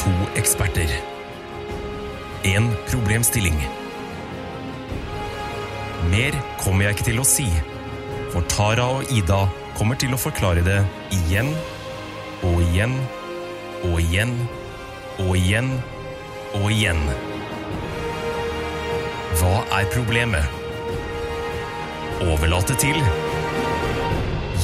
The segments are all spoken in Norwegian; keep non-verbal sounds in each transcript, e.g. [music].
To eksperter. En problemstilling. Mer kommer jeg ikke til å si, for Tara og Ida kommer til å forklare det igjen og igjen og igjen og igjen og igjen. Hva er problemet? Overlate til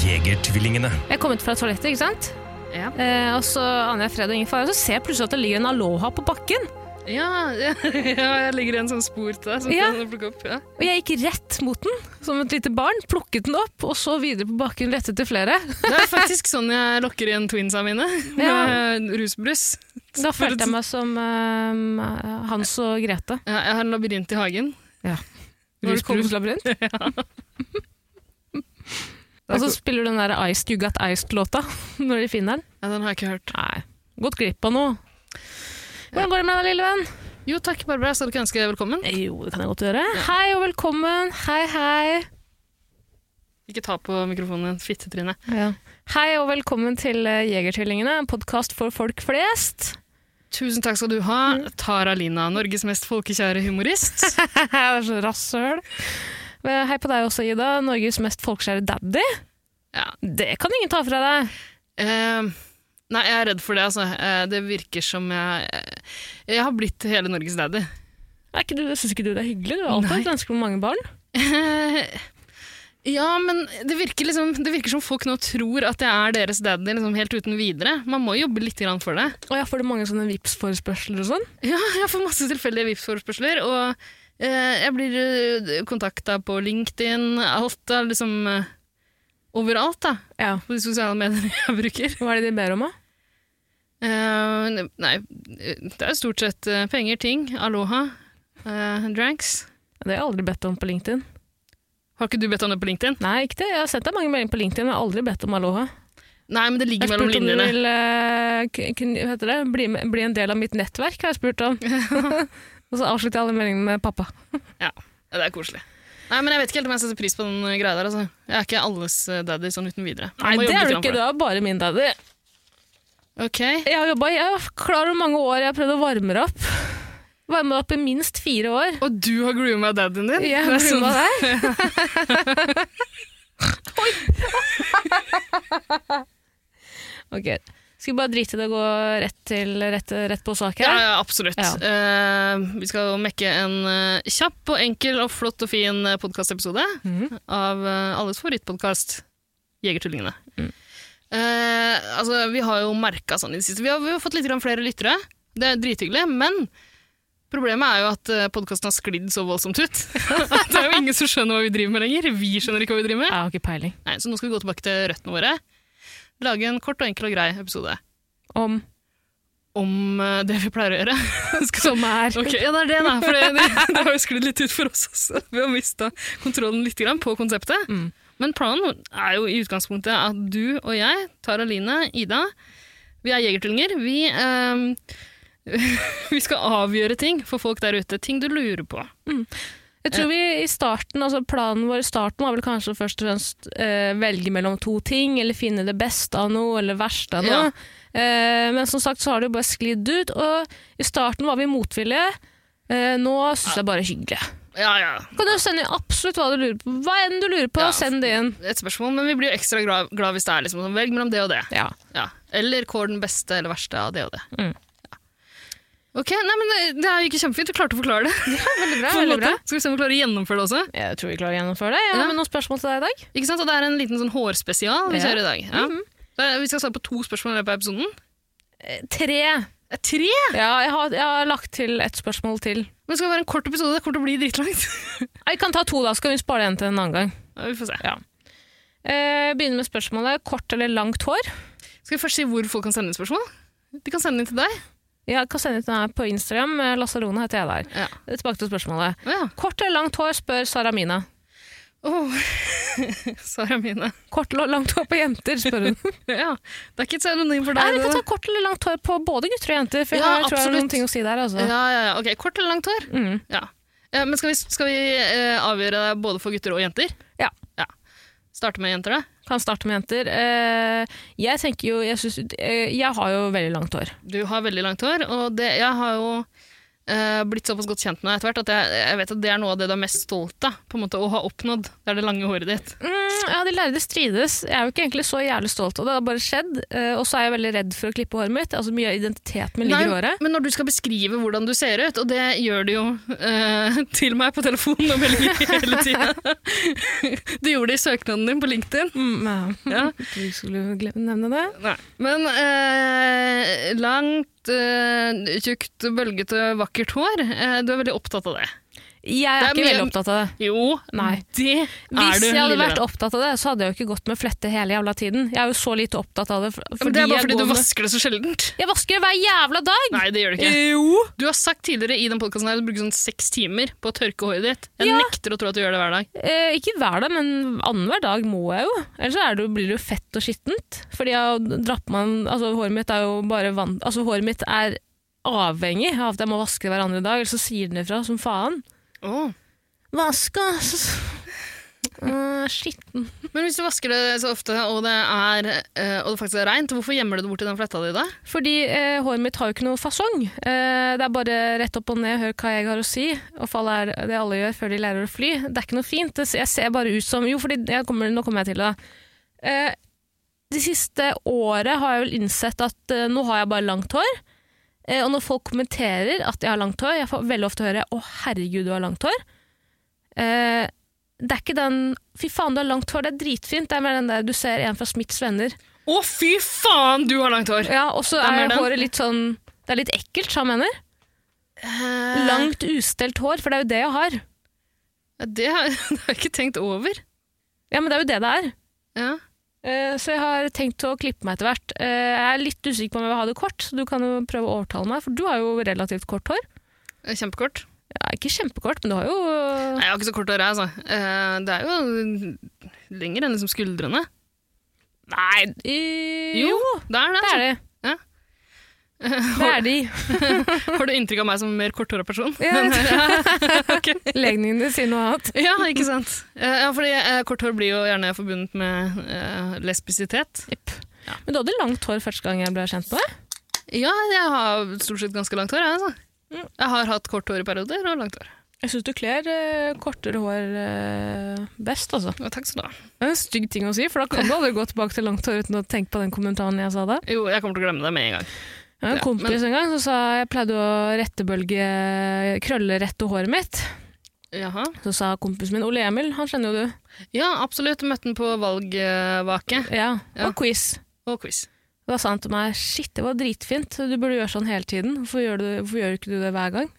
Jegertvillingene. Jeg kom ut fra toalettet, ikke sant? Ja. Eh, og så aner jeg fred og ingen fare, og så ser jeg plutselig at det ligger en aloha på bakken. Ja, [laughs] ja, ja, jeg ligger i en sånn spor til deg som Ja. kan plukke opp. Ja. Og jeg gikk rett mot den, som et lite barn, plukket den opp, og så videre på bakken lette etter flere. Det er faktisk sånn jeg lokker igjen twinsa mine, [laughs] med rusbrus. [laughs] Da følte jeg meg som eh, Hans og Grete. Ja, jeg har en labyrint i hagen. Ja. Rusbrus. [laughs] Rusbrus-labyrint. Og Altså, så spiller du den der Iced You Got Iced-låta [laughs] når de finner den. Ja, den har jeg ikke hørt. Nei, gått glipp av noe. Hvordan går det med deg, lille venn? Jo takk, Barbara, skal du ikke ønske velkommen? Jo, det kan jeg godt gjøre. Hei og velkommen. Hei, hei. Ikke ta på mikrofonen, fittetryne. Hei og velkommen til eh, Jegertvillingene, en podkast for folk flest. [laughs] Tusen takk skal du ha, Tara Lina, Norges mest folkekjære humorist. [laughs] det er så rasshøl. Men Eh, Hei på deg også, Ida. Norges mest folkeskjære daddy. Ja. Det kan ingen ta fra deg. Eh, nei, jeg er redd for det, altså. Eh, det virker som jeg eh, Jeg har blitt hele Norges daddy. Er ikke du, synes ikke du det er hyggelig? Du har alltid Nei. hatt ønske om mange barn. Eh, ja, men det virker, liksom, det virker som folk nå tror at jeg er deres daddy liksom, helt uten videre. Man må jobbe litt grann for det. Og jeg får det mange sånne Vipps-forespørsler og sånn. Ja, jeg får masse tilfeldige Vipps-forespørsler, og eh, jeg blir eh, kontakta på LinkedIn, alt er liksom eh, Overalt, da. Ja. På de sosiale mediene [laughs] jeg bruker. Hva er det de ber om, da? Eh, ne- nei, det er jo stort sett eh, penger, ting, aloha, eh, dranks. Det har jeg aldri bedt om på LinkedIn. Har ikke du bedt om det på LinkedIn? Nei, ikke det. Jeg har sendt deg mange meldinger på LinkedIn, men jeg har aldri bedt om aloha. Nei, men det ligger Jeg har mellom spurt om du linjene. vil eh, k- kun- hva heter det? Bli, med- bli en del av mitt nettverk, har jeg spurt [laughs] om. og så avslutter jeg alle meldingene med pappa. Ja, det er koselig. Nei, men jeg vet ikke helt om jeg setter pris på den eh, greia der. Altså. Jeg er ikke alles eh, daddy sånn uten videre. Nei, det er du ikke. Du er bare min daddy. Ok, Jeg har jobba jeg er klar over mange år, jeg har prøvd å varme det opp. Varme det opp i minst fire år. og du har grooma daddyen din? Jeg Det er grua sånn- deg. [laughs] Oi! ok. Skal vi bare drite i det og gå rett, til, rett, rett på sak Ja, her? ja, absolutt. Ja. Eh, vi skal mekke en eh, kjapp og enkel og flott og fin podkastepisode Mhm. av eh, alles favorittpodkast, Jegertullingene. Mm. Eh, altså, vi har jo merka sånn i det siste. Vi har, vi har fått litt grann flere lyttere. Det er drithyggelig. Men problemet er jo at uh, podkasten har sklidd så voldsomt ut. [laughs] at det er jo ingen som skjønner hva vi driver med lenger. Vi skjønner ikke hva vi driver med. Jeg har ikke peiling. Nei, så nå skal vi gå tilbake til røttene våre. Lage en kort og enkel og grei episode Om om eh, det vi pleier å gjøre. [laughs] som er Ok, ja, det er det, da. For det, det, [laughs] det har jo sklidd litt ut for oss også. Vi har mista kontrollen litt grann på konseptet. Mm. Men planen er jo i utgangspunktet at du og jeg, Tara Line, Ida, vi er jegertvillinger. Vi, ehm, [laughs] vi skal avgjøre ting for folk der ute. Ting du lurer på. Jeg tror vi i starten, altså planen vår i starten var vel kanskje først og fremst eh, velge mellom to ting, eller finne det beste av noe, eller verste av noe. Ja. Eh, men som sagt så har det jo bare sklidd ut, og i starten var vi motvillige. Eh, nå synes jeg bare er hyggelig. Ja, ja. Kan du sende inn absolutt hva du lurer på? Hva enn du lurer på, Ja. send det inn. Et spørsmål, men vi blir jo ekstra glad, glad hvis det er liksom sånn, velg mellom det og det. Ja. Ja. Eller kår den beste eller verste av det og det. Mm. Ja. Ok, nei, men det- Det gikk kjempefint. Du klarte å forklare det. Veldig bra, på en måte. Skal vi se om vi klarer å gjennomføre det også? Jeg tror vi klarer å gjennomføre det. Ja, Ja. Men noen spørsmål til deg i dag? Mhm. Ikke sant? Og det er en liten sånn hårspesial vi Ja. kjører i dag. Ja. Mhm. Da- Vi skal svare på to spørsmål i løpet av episoden. Tre. Eh, Tre! Ja, jeg har, jeg har lagt til et spørsmål til. Men det skal være en kort episode. Det kommer til å bli dritlangt. Nei, Vi kan ta to da, så kan vi spare en til en annen gang. [laughs] Ja, vi får se. Eh, begynner med spørsmålet kort eller langt hår. Skal vi først si hvor folk kan sende inn spørsmål? De kan sende inn til deg. Jeg kan sende ut den her på Instagram. eh, Lassarone heter jeg der. Ja. Eh, Tilbake til spørsmålet. Å ja. Kort eller langt hår, spør Sara Mina. Oh. [laughs] Sara mine. Kort eller langt hår på jenter, spør [laughs] hun. Ja. Det er ikke et pseudonym for deg. Nei, vi kan det ta kort eller langt hår på både gutter og jenter, for jeg Ja, har- jeg tror jeg har absolutt. noen ting å si der. Altså. da. ja, ja, ja. Ok, Kort eller langt hår? Mm. Ja. Eh, Men skal vi, skal vi eh, avgjøre det både for gutter og jenter? Ja. Starte med jenter, da? Kan starte med jenter. Eh, jeg tenker jo Jeg, synes, eh, jeg har jo veldig langt hår. Du har veldig langt hår, og det, jeg har jo eh, blitt såpass godt kjent med deg etter hvert at jeg, jeg vet at det er noe av det du er mest stolt av på en måte, å ha oppnådd. Det er det lange håret ditt. Mm, ja, de lærde strides. Jeg er jo ikke egentlig så jævlig stolt av det. Det har bare skjedd. Eh, og så er jeg veldig redd for å klippe håret mitt. Altså Mye av identiteten min ligger i håret. men når du skal beskrive hvordan du ser ut, og det gjør du jo eh, [laughs] til meg på telefonen og meldinger [laughs] hele tida Du gjorde det i søknaden din på LinkedIn. Mm, [laughs] ja. Ja. Du skulle glemme- nevne det. Men eh, langt, eh, tjukt, bølgete, vakkert hår. Eh, du er veldig opptatt av det. Jeg er, Det er ikke mye- veldig opptatt av det. Jo, Nei. det er du. Hvis jeg hadde lille vært venn. opptatt av det, så hadde jeg jo ikke gått med flette hele jævla tiden. Jeg er jo så lite opptatt av det. for- Men det er bare jeg fordi går du med- vasker det så sjeldent. Jeg vasker hver jævla dag! Eh, Nei, det gjør du ikke. Jo! Du har sagt tidligere i den podkasten at du bruker sånn seks timer på å tørke håret ditt. Jeg Ja. nekter å tro at du gjør det hver dag. Eh, ikke hver dag, men annenhver dag må jeg jo. Ellers så er det, jo- blir det jo fett og skittent. Fordi jeg har dratt man, altså, håret mitt er jo bare vann... Altså, håret mitt er avhengig av at jeg må vaske det hver andre dag, ellers så sier den ifra som faen. Åh. Vaske, [laughs] altså. Eh, skitten. Men hvis du vasker det så ofte, og det, er, eh, og det faktisk er reint, hvorfor gjemmer du det bort i den fletta di da? Fordi eh, håret mitt har jo ikke noe fasong. Eh, det er bare rett opp og ned, hør hva jeg har å si. Og fall er det alle gjør før de lærer å fly. Det er ikke noe fint. Det, jeg ser bare ut som Jo, fordi jeg kommer, nå kommer jeg til det. da. Eh, det siste året har jeg vel innsett at eh, nå har jeg bare langt hår. Eh, og når folk kommenterer at jeg har langt hår, jeg får veldig ofte høre 'Å, herregud, du har langt hår'. Eh, det er ikke den 'Fy faen, du har langt hår', det er dritfint. Det er mer den der du ser en fra Smiths venner. Å, fy faen, du har langt hår! Ja, og så Da er mener den. håret litt sånn Det er litt ekkelt, sa han mener. Eh, Langt ustelt hår, for det er jo det jeg har. Det har, [laughs] det har jeg ikke tenkt over. Ja, men det er jo det det er. Ja. Eh, Så jeg har tenkt å klippe meg etter hvert. Eh, Jeg er litt usikker på om jeg vil ha det kort, så du kan jo prøve å overtale meg, for du har jo relativt kort hår. Kjempekort. Ja, ikke kjempekort, men du har jo eh, Nei, jeg har ikke så kort hår, jeg, altså. Eh, Det er jo lenger enn liksom skuldrene. Nei Jo, Det er det. det er det. Ja. Det er [laughs] de. Altså. Har du inntrykk av meg som en mer korthåra person? Ja, Men, [laughs] [laughs] Legene dine sier noe annet. ja, ikke sant. Eh, Ja, fordi eh, kort hår blir jo gjerne forbundet med eh, lesbisitet. Men du hadde langt hår første gang jeg ble kjent med deg. Ja, jeg har stort sett ganske langt hår, jeg, altså. Mm. Jeg har hatt kort hår i perioder og langt hår. Jeg syns du kler eh, kortere hår eh, best, altså. Ja, takk skal du ha. Det er en stygg ting å si, for da kan du aldri gå tilbake til langt hår uten å tenke på den kommentaren jeg sa da. Jo, jeg kommer til å glemme det med en gang. Jeg har en Ja, kompis en gang som sa jeg pleide å rettebølge krøllerette håret mitt. Jaha. Så sa kompisen min Ole Emil, han kjenner jo du. Ja, absolutt. Møtte den på valgvake Ja, Ja. Og quiz. og quiz. Da sa han til meg shit, det var dritfint, du burde gjøre sånn hele tiden. Hvorfor gjør du, hvorfor gjør ikke du det hver gang?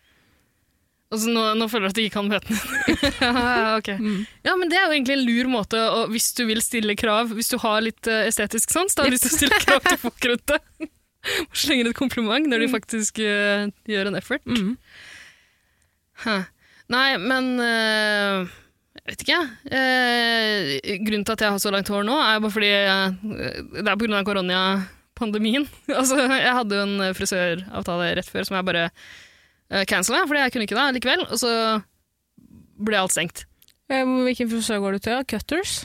Og så Altså, nå, nå føler jeg at jeg ikke kan møte den. ja, ok. Mm. ja, men det er jo egentlig en lur måte å, hvis du vil stille krav, hvis du har litt eh, estetisk sans, da har du lyst til å stille krav til folk rundt deg. [laughs] Og Slenger et kompliment når de faktisk eh, gjør en effort. Mm. Hæ. Nei, men eh, Jeg vet ikke. Eh, grunnen til at jeg har så langt hår nå, er bare fordi jeg, det er pga. koronapandemien. [laughs] altså, jeg hadde jo en frisøravtale rett før som jeg bare uh, cancela, fordi jeg kunne ikke det likevel. Og så ble alt stengt. Eh, Hvilken frisør går du til? Cutters?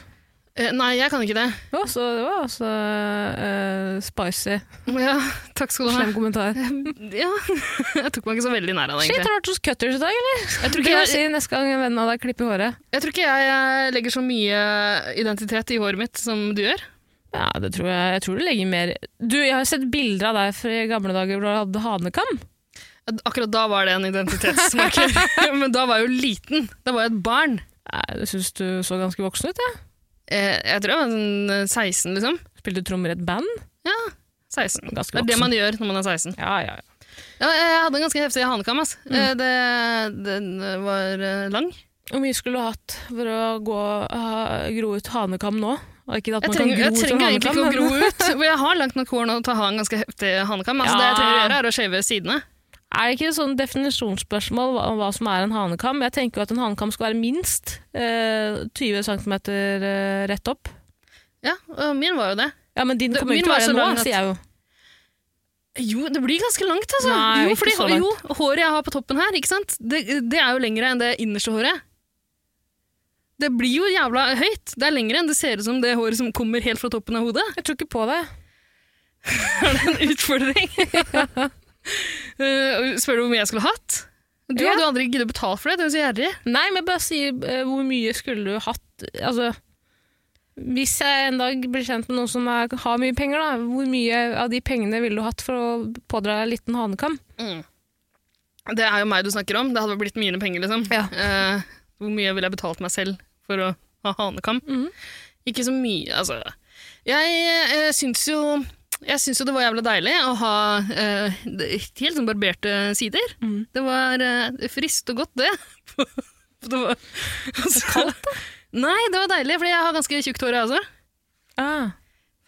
Eh, nei, jeg kan ikke det. [laughs] Ja, så det var altså eh, spicy. Ja, takk skal du ha. Slem kommentar. Ja, [laughs] jeg tok meg ikke så veldig nær av det, Shit, har egentlig. du vært hos Cutters i dag, eller? Jeg tror Det må ikke jeg jeg, si neste gang en venn av deg klipper håret. jeg, tror ikke jeg eh, legger så mye identitet i håret mitt som du gjør. Ja, det tror jeg. Jeg tror du legger mer Du, jeg har sett bilder av deg fra i gamle dager hvor du hadde hanekam. Akkurat da var det en identitetsmarker. [laughs] [laughs] Men da var jeg jo liten. Da var jeg et barn. Nei, Jeg syns du så ganske voksen ut. jeg. Eh, Jeg tror jeg var sånn eh, 16, liksom. Spilte trommer i et band. 16. Ganske Det er det voksen. man gjør når man er 16. Ja, ja, ja. Ja, jeg hadde en ganske heftig hanekam. ass. Mm. Eh, det- Den var eh, lang. Hvor mye skulle du hatt for å gå, ha- gro ut hanekam nå? Og Ikke at Jeg man trenger, jeg kan gro ut en trenger egentlig hanekam. ikke å gro men- ut. For jeg har langt nok hår nå til å ha en ganske heftig hanekam. Ja. Altså, Det jeg trenger å gjøre, er å shave sidene. [laughs] Er det ikke et sånn definisjonsspørsmål hva- om hva som er en hanekam? Jeg tenker jo at en hanekam skal være minst eh, 20 cm eh, rett opp. Ja, og min var jo det. Ja, men din Det- kommer jo min ikke til å var så være nå, lang at- sier jeg jo. Jo, det blir ganske langt, altså. Nei, jo, ikke fordi, så langt. jo, håret jeg har på toppen her, ikke sant? Det, det er jo lengre enn det innerste håret. Det blir jo jævla høyt. Det er lengre enn det ser ut som det håret som kommer helt fra toppen av hodet. [laughs] Jeg tror ikke på det. Er det en [laughs] utfordring? Eh, og spør du hvor mye jeg skulle hatt? Du Ja. hadde jo aldri giddet å betale for det. Du er så gjerrig. Nei, men jeg bare sier eh, hvor mye skulle du hatt Altså, hvis jeg en dag blir kjent med noen som er, har mye penger, da, hvor mye av de pengene ville du hatt for å pådra deg en liten hanekam? Det er jo meg du snakker om. Det hadde blitt mine penger, liksom. Ja. Eh, hvor mye ville jeg betalt meg selv for å ha hanekam? Mhm. Ikke så mye, altså. Jeg eh, syns jo jeg syns jo det var jævla deilig å ha eh, det- helt sånn barberte sider. Mhm. Det var eh, friskt og godt, det. [laughs] det var kaldt, da? [laughs] Nei, det var deilig, fordi jeg har ganske tjukt hår, jeg også. Ah.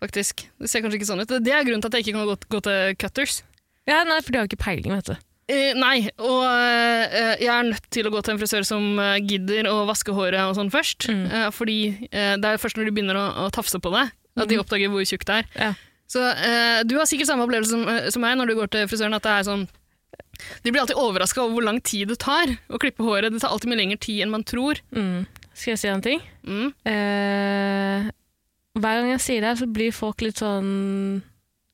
Faktisk. Det ser kanskje ikke sånn ut. Det er grunnen til at jeg ikke kan gå, gå til cutters. Ja, nei, for de har jo ikke peiling, vet du. Eh, nei, og eh, jeg er nødt til å gå til en frisør som eh, gidder å vaske håret og sånn først. Mm. Eh, fordi eh, det er først når de begynner å, å tafse på deg, at de oppdager hvor tjukt det er. Ja. Så eh, du har sikkert samme opplevelse som, eh, som meg når du går til frisøren, at det er sånn De blir alltid overraska over hvor lang tid det tar å klippe håret. Det tar alltid mye lengre tid enn man tror. Mm. Skal jeg si en ting? Mm. Eh, hver gang jeg sier det, her, så blir folk litt sånn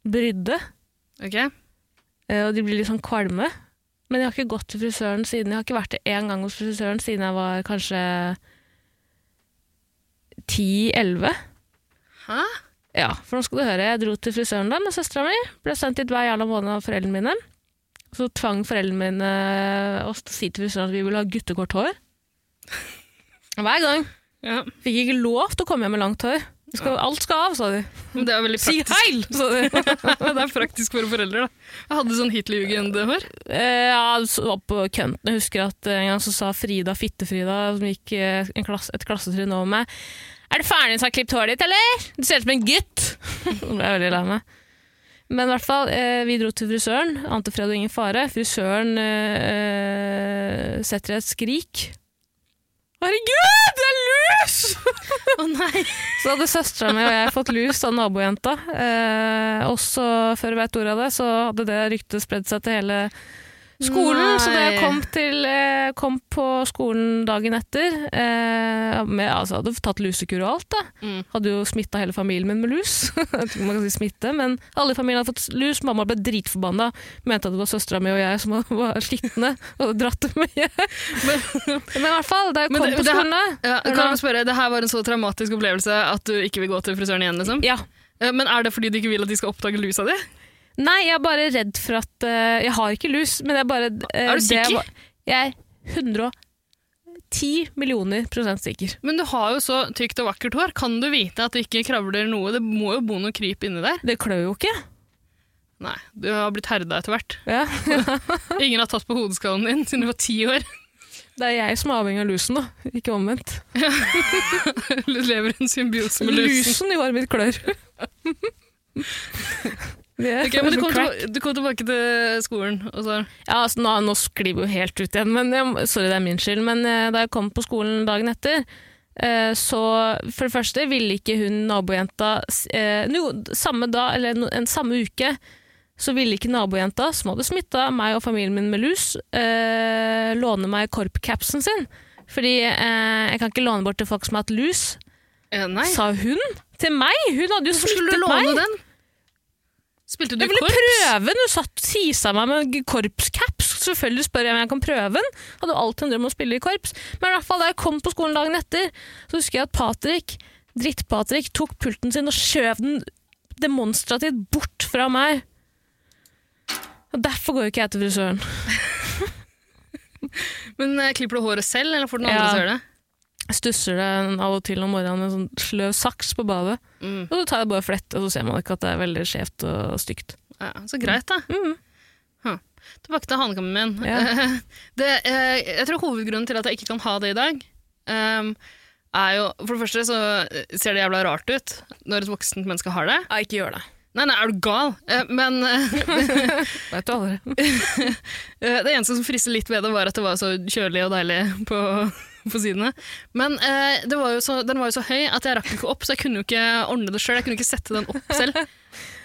brydde. Ok? eh, Og de blir litt sånn kvalme. Men jeg har ikke gått til frisøren siden Jeg har ikke vært det én gang hos frisøren siden jeg var kanskje 10-11. Hæ? Ja, for nå skal du høre. Jeg dro til frisøren da med søstera mi. Ble sendt dit hver jævla måned av foreldrene mine. Så tvang foreldrene mine eh, oss til å si til frisøren at vi ville ha guttekort hår. Hver gang. Ja. Fikk ikke lov til å komme hjem med langt hår. Vi Skal, alt skal av, sa de. Men det er veldig Si praktisk. heil! sa de. [laughs] det er praktisk for foreldre, da. Jeg hadde sånn Hitlerjugend-hår. Eh, ja, så var på kønten. Jeg husker at eh, en gang så sa Frida Fitte-Frida, som gikk eh, en klass, et klassetrinn over meg, er det faren din som har klippet håret ditt, eller? Du ser ut som en gutt! [laughs] Da ble jeg veldig lei meg. Men i hvert fall, eh, vi dro til frisøren. Ante fred og ingen fare. Frisøren eh, eh, setter et skrik. Herregud, det er lus! Å nei! Så hadde søstera mi og jeg fått lus av nabojenta. Eh, også før jeg vet ordet av det, så hadde det ryktet spredd seg til hele skolen. Så da jeg Nei. kom, til, eh, kom på skolen dagen etter, eh, med, altså, hadde tatt lusekur og alt, da. Mm. hadde jo smitta hele familien min med lus. [laughs] jeg tror ikke man kan si smitte, men alle i familien hadde fått lus. Mamma ble dritforbanna. Mente at det var søstera mi og jeg som [laughs] var slitne og hadde dratt det med hjem. Men- Men i hvert fall, da jeg Men kom det- på det her- skolen da Ja, kan jeg spørre, Det her var en så traumatisk opplevelse at du ikke vil gå til frisøren igjen? liksom? ja, Eh, Men Er det fordi du ikke vil at de skal oppdage lusa di? Nei, jeg er bare redd for at eh, Jeg har ikke lus, men jeg er bare eh, Er du det jeg sikker? var- Jeg er 110 millioner prosent sikker. Men du har jo så tykt og vakkert hår. Kan du vite at det ikke kravler noe? Det må jo bo noe kryp inni der. Det klør jo ikke. Nei, du har blitt herda etter hvert. Ja. Ingen har tatt på hodeskallen din siden du var ti år. [laughs] Det er jeg som er avhengig av lusen, da. Ikke omvendt. Du lever i en symbiose med lusen. Lusen i håret mitt klør. Det er [laughs] Ok, men du som kom, crack. til, du kom tilbake til skolen, og så Ja, altså, nå, nå sklir vi jo helt ut igjen, men jeg, sorry, det er min skyld. Men eh, da jeg kom på skolen dagen etter, eh, så for det første ville ikke hun nabojenta s- eh, no, samme dag, eller no, en samme uke, så ville ikke nabojenta, som hadde smitta meg og familien min med lus, eh, låne meg korpcapsen sin. Fordi eh, jeg kan ikke låne bort til folk som har hatt lus, eh, Nei, sa hun til meg! Hun hadde jo hvorfor skulle smittet du meg! låne den? Spilte du Jeg ville korps? prøve den! Hun satt og tisa meg med en korpscaps. Selvfølgelig spør jeg om jeg kan prøve den. Hadde jo alltid en drøm om å spille i korps. Men i hvert fall da jeg kom på skolen dagen etter, så husker jeg at Patrick, dritt-Patrick, tok pulten sin og skjøv den demonstrativt bort fra meg. Og Derfor går jo ikke jeg til frisøren. Men eh, klipper du håret selv, eller får den Ja. andre til å gjøre det? Jeg stusser det av og til om morgenen med en sånn sløv saks på badet. Mm. Og så tar jeg bare flett, og så ser man ikke at det er veldig skjevt og stygt. Ja, så greit, da. Mhm. Huh. Tilbake til hanekammen min. Ja. [laughs] Det, eh, jeg tror hovedgrunnen til at jeg ikke kan ha det i dag, ehm, er jo For det første så eh, ser det jævla rart ut når et voksent menneske har det. Ja, ikke gjør det. Nei, nei, er du gal? Eh, Men eh, Vet du aldri. det eneste som frista litt ved det, var at det var så kjølig og deilig på, [laughs] på sidene. Men eh, det var jo så, den var jo så høy at jeg rakk den ikke opp, så jeg kunne jo ikke ordne det sjøl. Jeg kunne ikke sette den opp selv.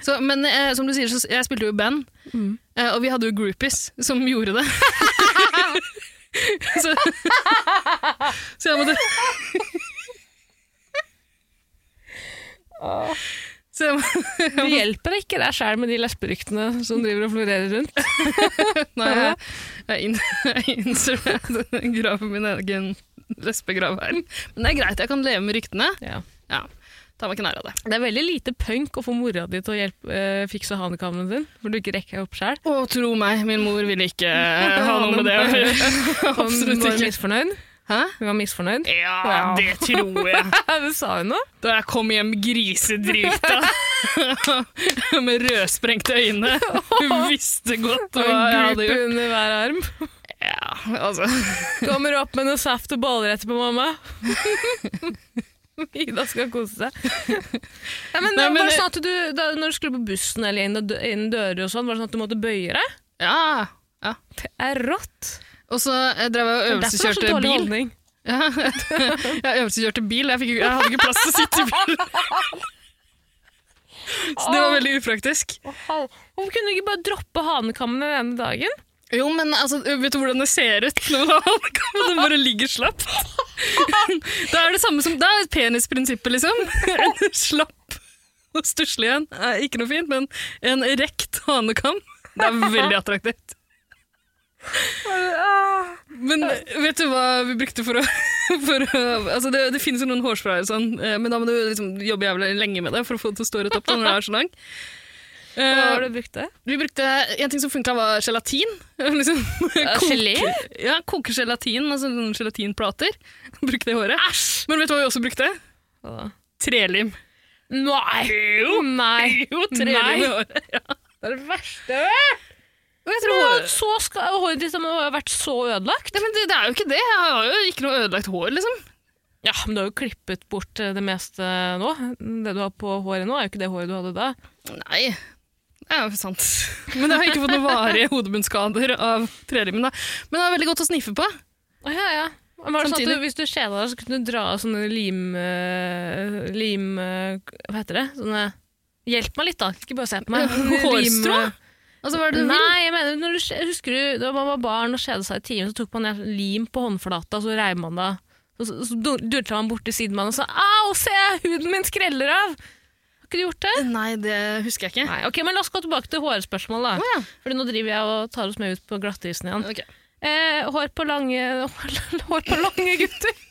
Så, men eh, som du sier, så jeg spilte jo i band. Eh, og vi hadde jo groupies som gjorde det. [laughs] Så, så jeg måtte Så jeg må, Du hjelper ikke deg sjæl med de lesberyktene som driver og florerer rundt. nei, jeg, jeg, inn, [laughs] jeg innser [laughs] at jeg graver min egen lesbegrav her. Men det er greit, jeg kan leve med ryktene. Ja. Ja, Ta meg ikke nær av det. Det er veldig lite punk å få mora di til å hjelpe, eh, fikse hanekammen din, for du ikke rekker opp sjæl. Å, tro meg, min mor ville ikke eh, [laughs] ha noe med det å gjøre. [laughs] [laughs] Absolutt Hun var ikke. misfornøyd. Hæ? Hun var misfornøyd. Ja, det tror jeg. [laughs] Hun sa hun noe? Da jeg kom hjem [laughs] grisedrita med rødsprengte øyne. Hun visste godt hva Og en jeg hadde gruppe gjort. under hver arm. Ja, altså. Kommer opp med noe saft og boller etterpå, mamma. [laughs] Ida skal [laughs] kose seg. Nei, men, det Nei, var men bare det- sånn at du, da, Når du skulle på bussen eller inn, og dø- inn dører og sånn, var det sånn at du måtte bøye deg? Ja, ja. Det er rått. Og så eh, drev jeg og Det er derfor du har så øvelseskjørte dårlig bil. holdning. Ja, [laughs] jeg øvelseskjørte bil. Jeg, fikk, ikke- jeg hadde ikke plass til å sitte i bilen. [laughs] Så det var veldig upraktisk. Hvorfor kunne du ikke bare droppe hanekammen den ene dagen? Jo, men altså, vet du hvordan det ser ut når [laughs] man har halvkamp? Den bare ligger slapp. [laughs] Da er det samme som, da er penisprinsippet, liksom. [laughs] En slapp og stusslig en. er Ikke noe fint, men en erekt hanekam. Det er veldig attraktivt. Men vet du hva vi brukte for å, [laughs] for å altså det, det finnes jo noen hårsprayer og sånn, eh, men da må du liksom jobbe jævlig lenge med det for å få det til å stå rett opp da, når det er så lang. Hva Eh, var det du brukte? vi brukte, En ting som funka, var gelatin. [laughs] Liksom, koke- gelé? Ja, Koke gelatin, altså sånne gelatinplater. [laughs] Bruke det i håret. Men vet du hva vi også brukte? Trelim. Nei! Nei. Jo, Nei. trelim i håret. Ja. Det er det verste jeg vet! Jeg Men tror- Så skal, håret ditt må ha vært så ødelagt. Nei, men det, det er jo ikke det. Jeg har jo ikke noe ødelagt hår, liksom. Ja, men du har jo klippet bort eh, det meste nå. Det du har på håret nå, er jo ikke det håret du hadde da. Nei. Det er jo sant. [laughs] Men jeg har ikke fått noen varige hodebunnskader av trelimen. da. Men det er veldig godt å sniffe på. Å, ja, ja. Men var det sånn at Samtidig- du, hvis du kjeda deg, så kunne du dra av sånne lim... eh, lim eh, hva heter det? Sånne Hjelp meg litt, da. Ikke bare se på [laughs] meg. Hårstrå? Lim- eh, Altså, hva er det du vil? Nei, jeg mener, når du, skje- husker du da man var barn og kjeda seg i timen, så tok man ned lim på håndflata, så reiv man det av. Så- Så så dur- durta man borti siden av den og sa 'au, se, huden min skreller av'. Har ikke du gjort det? Nei, det husker jeg ikke. Nei, ok, men La oss gå tilbake til hårspørsmålet. da. Å, ja. Fordi nå driver jeg og tar oss med ut på glattisen igjen. Ok. Eh, hår på lange [laughs] Hår på lange gutter.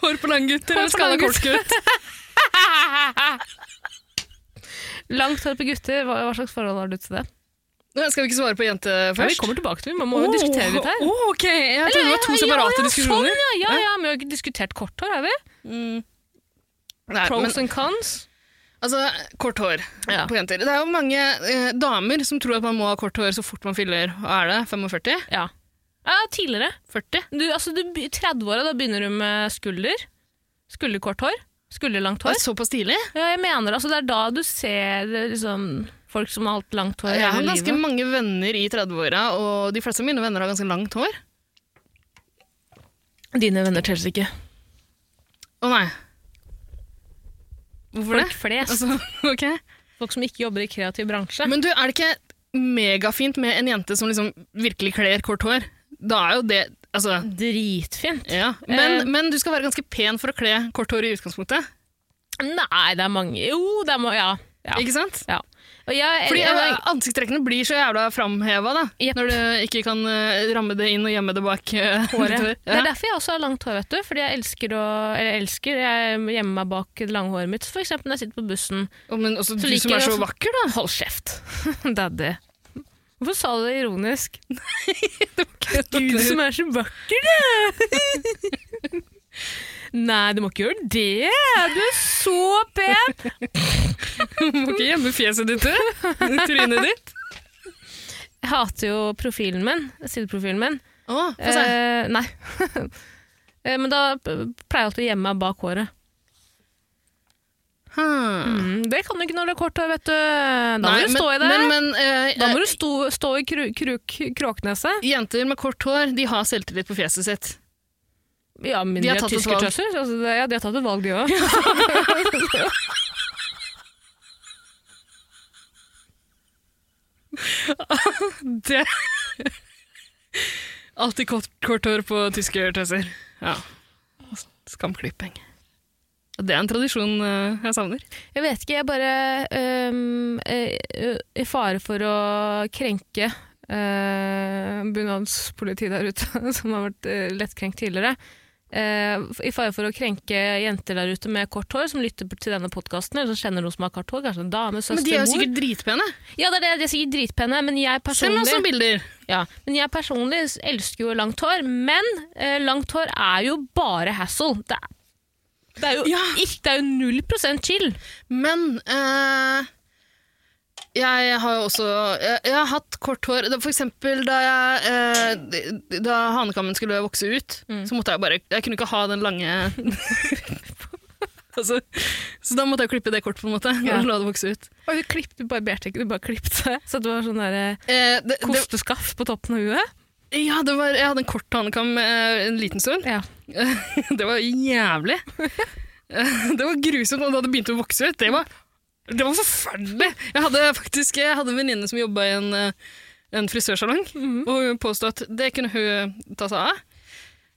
Hår på lange gutter Hår eller på skalla lange kort gutt? Langt hår på gutter, hva, hva slags forhold har du til det? Nå Skal vi ikke svare på jente Ja, vi først? kommer tilbake til det, man må jo Åh, diskutere litt her. åh, ok, Jeg trodde det var to Ja, ja, Oh. ja, separate ja, diskusjoner. Sånn, ja, ja, ja, men vi har ikke diskutert kort hår, har vi? Nei, Pros men, and cons. altså, kort hår Ja. på jenter. Det er jo mange eh, damer som tror at man må ha kort hår så fort man fyller hva er det, 45? Ja. ja tidligere. 40? Du, altså, du, be- 30-åra, da begynner du med skulder. Skulderkort hår. Skulderlangt Det hår. er såpass tidlig. Ja, jeg mener altså, Det er da du ser eh, liksom, folk som har hatt langt hår Jeg har hele ganske livet. mange venner i 30-åra, og de fleste av mine venner har ganske langt hår. Dine venner teller ikke. Å nei. Hvorfor det? Folk flest. Altså, [laughs] ok. Folk som ikke jobber i kreativ bransje. Men du, er det ikke megafint med en jente som liksom virkelig kler kort hår? Da er jo det Altså, Dritfint. Ja, men, Eh. men du skal være ganske pen for å kle kort hår i utgangspunktet. Nei, det er mange Jo, det er mange Ja. ja. Ikke sant? ja. Og jeg, Fordi jeg, eh, Ansiktstrekkene blir så jævla framheva da, Jepp. når du ikke kan eh, ramme det inn og gjemme det bak eh, [laughs] håret. ditt hår. Det er Ja. derfor jeg også har langt hår, vet du. Fordi jeg elsker å Eller elsker, jeg gjemmer meg bak det lange håret mitt. For eksempel når jeg sitter på bussen. Og Men også du liker som er jeg så også- vakker, da. Hold kjeft. [laughs] Daddy. Hvorfor sa du det [laughs] ironisk? Gud som er så vakker, [laughs] du! Nei, du må ikke gjøre det! Du er så pen! Du må ikke gjemme [laughs] fjeset ditt, du. Trynet ditt. Jeg hater jo profilen min. Sideprofilen min. Å, få se. Eh, nei. [laughs] Eh, Men da p- pleier jeg alltid å gjemme meg bak håret. Hmm. Mm, det kan du ikke når du har kort hår, vet du. Da må Nei, du stå men, i det. Men, men eh, da eh, må du stå, stå i kru, kru, kråkneset. jenter med kort hår, de har selvtillit på fjeset sitt. Ja, men De de har er tatt et valg. tyskertøsser. Altså, det- ja, de har tatt et valg, de òg. Det [laughs] Alltid kort, kort hår på tyske tøyser. Ja. Skamklipping. Det er en tradisjon eh, jeg savner. Jeg vet ikke, jeg bare øhm, eh, eh, I fare for å krenke øh, bunadspolitiet der ute, [laughs] som har vært eh, lettkrenkt tidligere. eh, I fare for å krenke jenter der ute med kort hår, som lytter til denne podkasten, eller som kjenner noen som har kort hår, kanskje en dame, søster, Men de er jo mor. sikkert dritpene. Ja, det er det, de er sikkert dritpenne, men jeg Send oss personlig noen bilder! ja, men jeg personlig elsker jo langt hår, men eh, langt hår er jo bare hassle. Det er, det er jo, Ja. ikke, det er jo 0 chill. Men eh, jeg har jo også jeg, jeg har hatt kort hår. Da- For eksempel da, jeg, eh, d- da hanekammen skulle vokse ut, så måtte jeg bare Jeg kunne ikke ha den lange [laughs] altså, Så da måtte jeg klippe det kort, på en måte. Ja. Og la det vokse ut. Og du, klipp, du barberte ikke, du bare klippte. Så det var sånn der eh, Eh, det, det, kosteskaft på toppen av huet. ja, det var, jeg hadde en kort hanekam eh, en liten stund. Ja. [laughs] Det var jævlig. Eh, Det var grusomt, og da det begynte å vokse ut, det var, det var forferdelig. Jeg hadde faktisk jeg hadde en venninne som jobba i en, eh, en frisørsalong, og hun påstod at det kunne hun ta seg av.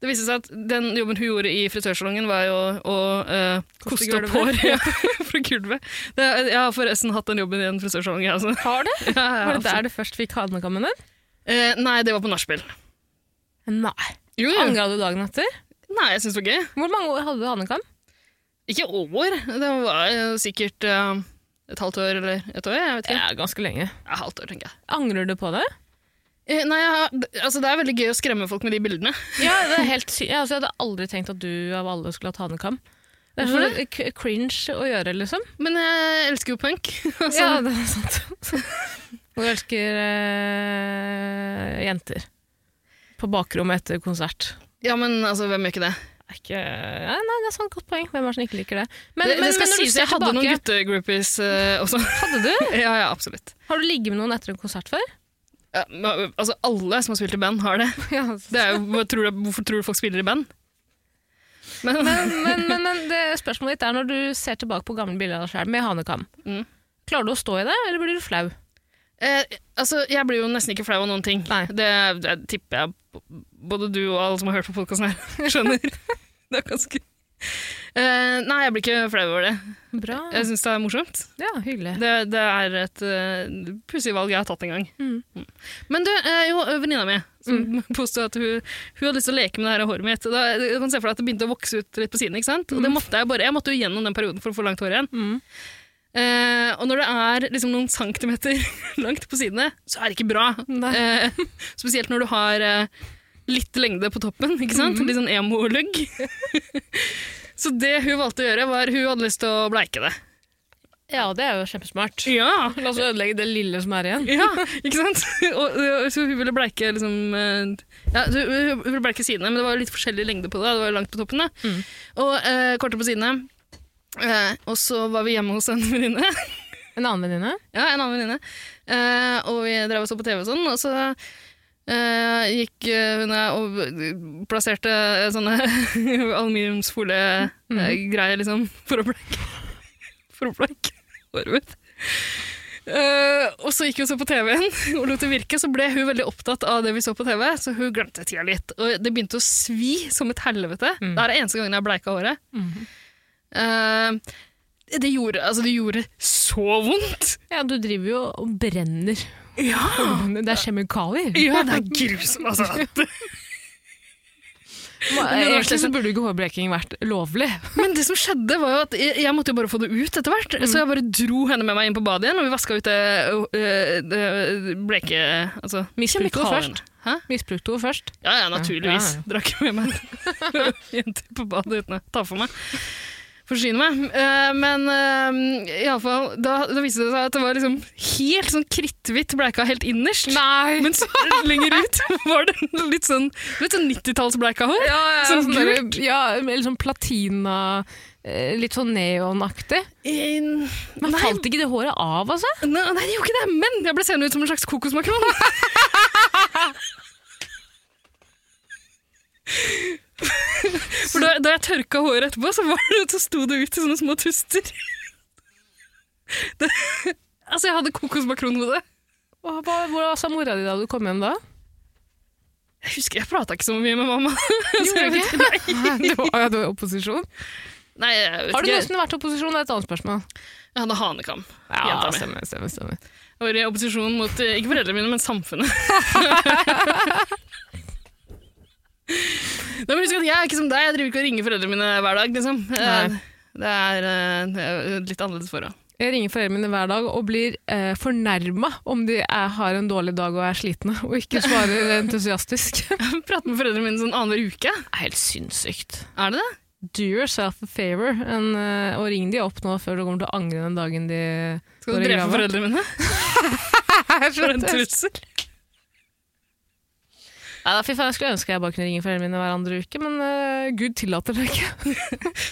Det viste seg at den jobben hun gjorde i frisørsalongen, var jo å eh, Koste koste opp hår gulvet. ja, [laughs] fra gulvet. Det, jeg har forresten hatt den jobben i en frisørsalong, jeg altså. også. Har du? Ja, ja, Var det absolutt. der du først fikk hanekammen din? [laughs] Eh, nei, det var på nachspiel. Nei. Jo, jo. Angra Mm. du dagen etter? Nei, jeg syns det var gøy. Hvor mange år hadde du hanekam? Ikke år, det var eh, sikkert eh, et halvt år eller et år. jeg vet ikke. Ja, ganske lenge. Ja, halvt år, tenker jeg. Angrer du på det? Eh, Nei, jeg har- d- altså Det er veldig gøy å skremme folk med de bildene. Ja, det er helt sy jeg, altså, jeg hadde aldri tenkt at du av alle skulle hatt hanekam. Det er Hvorfor sånn k- cringe å gjøre, liksom. Men jeg elsker jo punk. [laughs] Altså, Ja, det er sant. [laughs] Og jeg elsker eh, jenter. På bakrommet etter konsert. ja, men altså, hvem gjør ikke det? Det er Ikke, nei, nei, det er sånn godt poeng. Hvem er det som ikke liker det? Men, det, men, det skal men når du sies ser jeg hadde noen tilbake- guttegroupies [laughs] eh, også. Hadde du? ja, ja, absolutt. Har du ligget med noen etter en konsert før? Ja, men, altså, alle som har spilt i band, har det. [laughs] Ja, altså. det er jo, hva tror du, hvorfor tror du folk spiller i band? Men, Men, men, men det spørsmålet ditt er når du ser tilbake på gamle bilder av deg selv med hanekam. [laughs] Mm. Klarer du å stå i det, eller blir du flau? eh, altså, jeg blir jo nesten ikke flau av noen ting. Nei. Det, det tipper jeg b- både du og alle som har hørt på podkasten her, [laughs] skjønner. det er ganske eh, Nei, jeg blir ikke flau over det. Bra. Jeg syns det er morsomt. Ja, hyggelig. Det, det er et uh, pussig valg jeg har tatt en gang. Mm. Men du, eh, jo, venninna mi som [laughs] påstod at hun, hun hadde lyst til å leke med det her håret mitt. Da, du kan se for deg at det begynte å vokse ut litt på siden. ikke sant? Og det måtte Jeg bare, jeg måtte jo gjennom den perioden for å få langt hår igjen. Mm. Eh, og når det er liksom noen centimeter [laughs] langt på sidene, så er det ikke bra. Nei. Eh, spesielt når du har eh, litt lengde på toppen, ikke sant? Mhm. Litt sånn emo-lugg. [laughs] så det hun valgte å gjøre, var hun hadde lyst til å bleike det. Ja, det er jo kjempesmart. Ja, La oss ødelegge det lille som er igjen. Ja, ikke sant? [laughs] Og, og, så hun ville bleike liksom eh, ja, så Hun hun ville bleike sidene, men det var jo litt forskjellig lengde på det. Det var jo langt på toppen, da. Mm. Og eh, kortere på sidene. Eh, og så var vi hjemme hos en venninne. En annen venninne? ja, en annen venninne. Eh, og vi drev og så på TV og sånn, og så eh, gikk eh, hun der og plasserte eh, sånne [laughs] aluminiumsfolie-greier, liksom, for å bleike [laughs] For å bleike håret mitt. Eh, og så gikk hun så på TV-en [laughs] og lot det virke, så ble hun veldig opptatt av det vi så på TV, så hun glemte tida litt. Og det begynte å svi som et helvete. Mm. Det er den eneste gangen jeg bleika håret. Eh, det, gjorde, altså, det gjorde så vondt! Ja, du driver jo og brenner. Det er kjemikalier. Ja, det er grusomt, [laughs] altså. Egentlig så burde jo ikke hårbleking vært lovlig. Men det som skjedde, var jo at jeg, jeg måtte jo bare få det ut etter hvert. Så jeg bare dro henne med meg inn på badet igjen, og vi vaska ut det, øh, det bleke Altså Misbrukte kjemikaliene. først. Hæ? Misbrukte ord først. Ja, ja, naturligvis. Ja, ja, Drakk med meg [laughs] jenter på badet uten å ta for meg. Forsyne meg. Eh, Men eh, i alle fall, da, da viste det seg at det var liksom helt sånn kritthvitt bleika helt innerst. Nei! Mens lenger ut [laughs] var det litt sånn, du vet, sånn 90-tallsbleika hår. [laughs] ja, ja, Sånn sånn der, ja, eller sånn platina, eh, litt sånn neonaktig. Eh, Men falt ikke det håret av, altså? Nei, nei, det gjorde ikke det, men jeg ble seende ut som en slags kokosmakron. For da, da jeg tørka håret etterpå, så, var det, så sto det ut i sånne små tuster. Det, altså, jeg hadde kokosmakronhode. altså, Hva, hva- hvor sa mora di da du kom hjem da? Jeg husker jeg prata ikke så mye med mamma. [laughs] Gjorde du ikke? [laughs] Du var, ja, du var i opposisjon. Nei, jeg vet Har du ikke. noensinne vært i opposisjon? Det er et annet spørsmål. Jeg hadde hanekam. Ja, Jenta mi. stemmer, stemmer, stemmer. Jeg var i opposisjon mot eh, ikke foreldrene mine, men [laughs] samfunnet. Nei, men husk at Jeg er ikke som deg, jeg driver ikke og ringer foreldrene mine hver dag. liksom. Eh, Nei. Det er eh, det er et litt annerledes forhold. [laughs] Jeg ringer foreldrene mine hver dag og blir eh, fornærma om de er, har en dårlig dag og er slitne, og ikke svarer [laughs] entusiastisk. Det Jeg prater med foreldrene mine sånn annenhver uke. er helt sinnssykt. Er det det? Do yourself a favor enn, eh, og ring de opp nå før du kommer til å angre den dagen de Skal du går i drepe grava. foreldrene [laughs] mine? For en trussel. Nei, da, fy faen, jeg skulle ønske jeg bare kunne ringe foreldrene mine hver andre uke, men eh, Gud tillater det ikke. [laughs]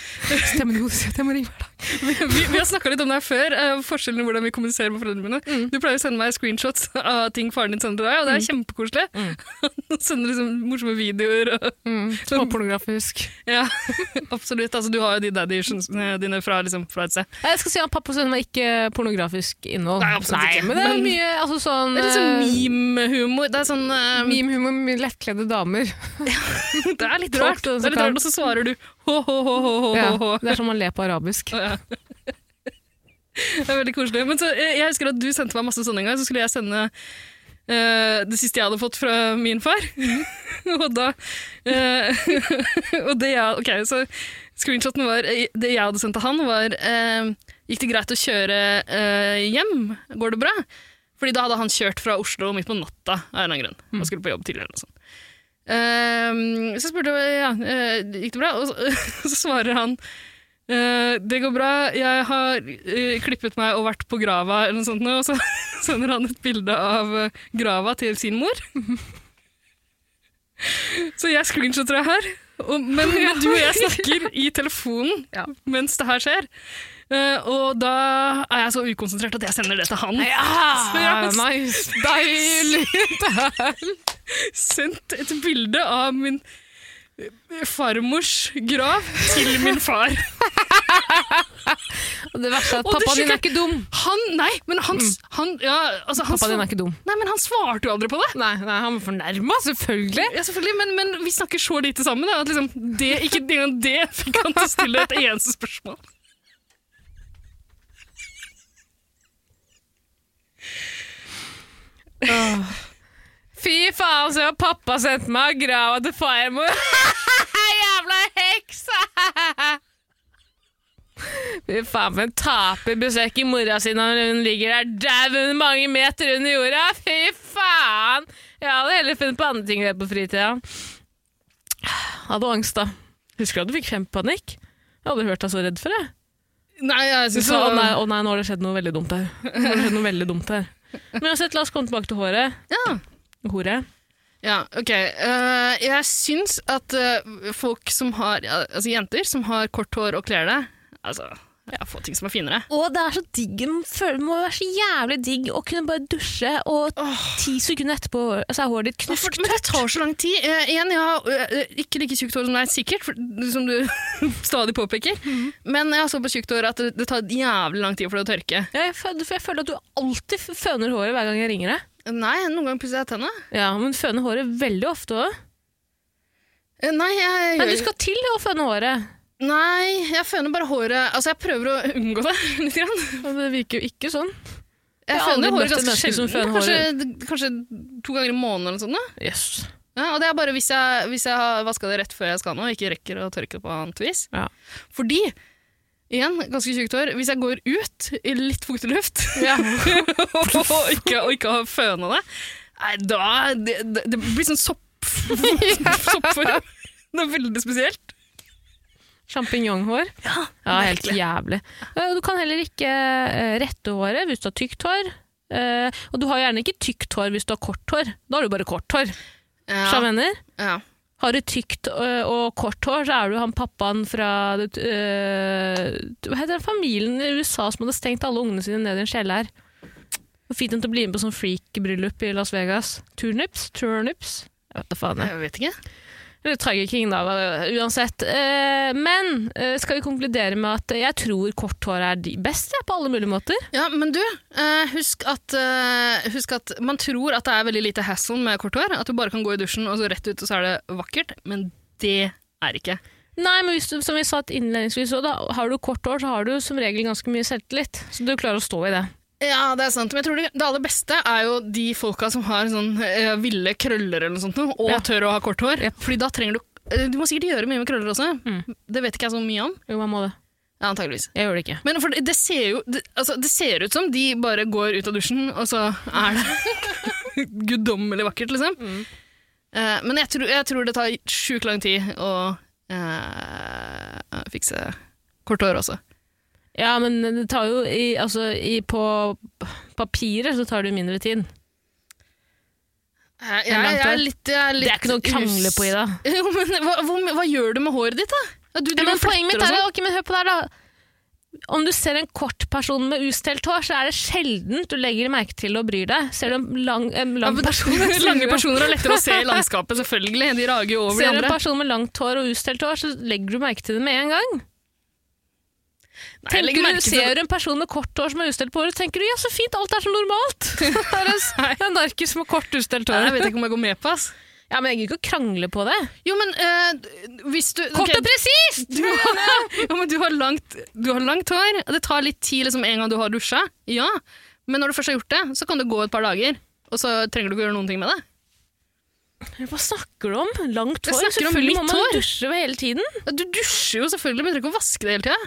Stemmen god sier at jeg må ringe hver dag. [laughs] Vi, vi har snakka litt om det her før, eh, forskjellen i hvordan vi kommuniserer med foreldrene mine. Du pleier å sende meg screenshots av ting faren din sender til deg, og det er kjempekoselig. Han [laughs] sender liksom morsomme videoer. Og, Mm, Småpornografisk. ja, [laughs] absolutt. Altså, du har jo de daddy issues, eh, dine fra, liksom, fra et sted. Nei, Jeg skal si at pappa sender meg ikke pornografisk innhold. Nei, absolutt ikke, Men det er men- mye altså, sånn, Det er litt sånn eh, meme-humor. Det er sånn eh, Meme-humor med lettkledde damer. [laughs] Det er litt Folk rart, altså, som [laughs] det er litt kan- rart og så svarer du ho-ho-ho-ho-ho. Ja, det er som man ler på arabisk. Ja. [laughs] Det er veldig koselig. Men så, eh, jeg husker at du sendte meg masse sånne en gang, så skulle jeg sende eh, det siste jeg hadde fått fra min far. [laughs] og da eh, [laughs] Og det jeg Ok, så screenshoten var eh, Det jeg hadde sendt til han, var eh, Gikk det greit å kjøre eh, hjem? Går det bra? Fordi da hadde han kjørt fra Oslo midt på natta av en eller annen grunn. Og skulle på jobb tidligere eller noe sånt. Eh, så spurte jeg ja, eh, gikk det bra, og så, [laughs] så svarer han Eh, det går bra. Jeg har eh, klippet meg og vært på grava, eller noe sånt, nå, og så [laughs] sender han et bilde av eh, grava til sin mor. [laughs] så jeg screenshotter det her, og, men, men du og jeg snakker i telefonen Ja. mens det her skjer. Eh, og da er jeg så ukonsentrert at jeg sender det til han. Ja, Ah, [laughs] nice! Deilig! Sendt et bilde av min eh, farmors grav til min far. Og det verste er at Og du pappa din skikker- er ikke dum. Han, nei, men han, s- han, ja, altså, han Mm. Pappa din svar- er ikke dum. Nei, men han svarte jo aldri på det. Nei, nei han var fornærma, selvfølgelig. Ja, selvfølgelig, men, men vi snakker så lite sammen da, at liksom det, ikke engang det [laughs] fikk han til å stille et eneste spørsmål. Fy faen, så har pappa sendt meg grava til farmor! [laughs] Jævla heks! Fy faen, for en taper besøker mora si når hun ligger der daud mange meter under jorda. Fy faen! Jeg hadde heller funnet på andre ting å gjøre på fritida. Hadde angst, da. Husker du at du fikk kjempepanikk? Jeg hadde hørt deg så redd for det. Nei, jeg Du synes sa, å det var- nei, å nei, nå har det skjedd noe veldig dumt her. Nå har det skjedd noe veldig dumt her. Men uansett, la oss komme tilbake til håret. Ja. Hore. Ja, ok. Eh, jeg syns at eh, folk som har, ja, altså jenter som har kort hår og kler det, altså, ja, få ting som er finere. Og det er så digg, man føler det må være så jævlig digg å kunne bare dusje, og ti sekunder etterpå så er håret ditt Men for- men det tar så lang tid. Eh, igjen, jeg har eh, ikke like tjukt hår som deg, sikkert, for, som du [laughs] stadig påpeker, Mhm. men jeg har såpass tjukt hår at det, det tar jævlig lang tid for det å tørke. Ja, jeg, føler, for jeg føler at du alltid f- føner håret hver gang jeg ringer deg. Nei, noen ganger pusser jeg tennene. Ja, men føner håret veldig ofte òg. Eh, Nei, jeg Nei, gjør du skal til å føne håret. Nei, jeg føner bare håret Altså, jeg prøver å unngå det [laughs] litt. Grann. Men det virker jo ikke sånn. Jeg Jeg har aldri føner møtt håret et ganske menneske som sjelden. føner Kanskje, kanskje to ganger i måneden eller noe sånt. da. Yes. Ja, og det er bare hvis jeg, hvis jeg har vaska det rett før jeg skal nå, og ikke rekker å tørke det på annet vis. Ja. Fordi Igjen, ganske tjukt hår. Hvis jeg går ut i litt fuktig luft Ja. [laughs] og ikke, og ikke har føna det, nei, da det, det det blir sånn sopp, [laughs] soppform. Det er veldig spesielt. Sjampinjonghår. Ja, helt virkelig. jævlig. Eh, Du kan heller ikke eh, rette håret hvis du har tykt hår. Eh, og du har gjerne ikke tykt hår hvis du har kort hår. Da har du bare kort hår. Ja. Ja, Mener. ja. Har du tykt ø, og kort hår, så er du han pappaen fra det, ø, Hva heter den familien i USA som hadde stengt alle ungene sine ned i en kjeller? Og fikk dem til å bli med på sånn freak-bryllup i Las Vegas. Turnips? Turnips? Jeg vet da faen. jeg. Jeg vet ikke. Eller Tiger King, da. hva- Uansett. Eh, Men eh, skal vi konkludere med at jeg tror kort hår er de best, jeg, på alle mulige måter. Ja, men du, eh, husk, at, eh, husk at man tror at det er veldig lite hassle med kort hår. At du bare kan gå i dusjen og så rett ut, og så er det vakkert. Men det er ikke. Nei, men hvis du, som vi sa innledningsvis, så da har du kort hår, så har du som regel ganske mye selvtillit. Så du klarer å stå i det. Ja, det er sant. Men jeg tror det, det aller beste er jo de folka som har sånn eh, ville krøller eller noe sånt, noe, og Ja. tør å ha kort hår. Fordi da trenger du eh, Du må sikkert gjøre mye med krøller også. Mm. Det vet ikke jeg så mye om. Jo, man må det. Ja, antageligvis. Jeg gjør det ikke. Men for det, det ser jo det, altså, det ser ut som de bare går ut av dusjen, og så er det [laughs] guddommelig vakkert, liksom. Mm. Eh, men jeg tror, jeg tror det tar sjukt lang tid å eh, fikse kort hår også. Ja, men det tar jo i, altså, i, På papiret så tar det jo mindre tid. Jeg, jeg- Eh, jeg er litt, jeg Det er ikke noe å krangle på, Ida. [laughs] Jo, men hva, hvor- hva gjør du med håret ditt, da? Ja, du, Ja, driver men og poenget mitt fletter og er sånn. ok, men hør på det her, da. Om du ser en kort person med ustelt hår, så er det sjelden du legger merke til og bryr deg. Ser du en lang, en Ja, lang men person Lange personer er lettere å se i landskapet, selvfølgelig. De rager jo over de Ser du en andre. person med langt hår og ustelt hår, så legger du merke til det med en gang. Nei, jeg legger Tenker merke du, til- ser du en person med kort hår som er ustelt på håret, tenker du ja, så fint, alt er som [laughs] normalt. Det er en s- en narkis med kort ustelt Nei, hår. Jeg vet ikke om jeg går med på, ass. Ja, men jeg gidder ikke å krangle på det. Jo, men eh, hvis du Kort ok, og presist! du, jo, men du, har langt, du har langt hår, og det tar litt tid liksom, en gang du har dusja. Ja. Men når du først har gjort det, så kan det gå et par dager, og så trenger du ikke gjøre noen ting med det. Hva snakker du om? Langt Jeg hår? snakker om Selvfølgelig mitt må man hår. dusje hele tiden. Ja, Du dusjer jo selvfølgelig, men du trenger ikke å vaske det hele tida.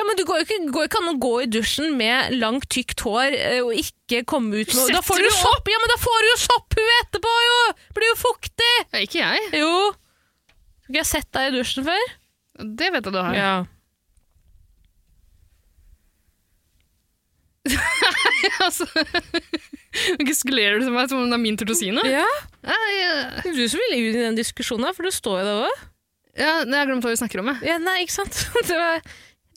Ja, men Det går jo ikke, går ikke an å gå i dusjen med langt, tykt hår eh, og ikke komme ut med Setter da får, du du jo sopp, ja, men da får du jo sopphue etterpå, jo! Blir jo fuktig! Ja, ikke jeg. Jo. Har ikke jeg sett deg i dusjen før? Det vet jeg du har. Ja. [laughs] altså, [laughs] ikke skulerer du til meg som om det er min tur til å si noe? ja. Ja, jeg, Du som ville ut i den diskusjonen, her, for du står jo der òg. ja, jeg har glemt hva vi snakker om. Jeg. Ja, nei, ikke sant? [laughs] Det var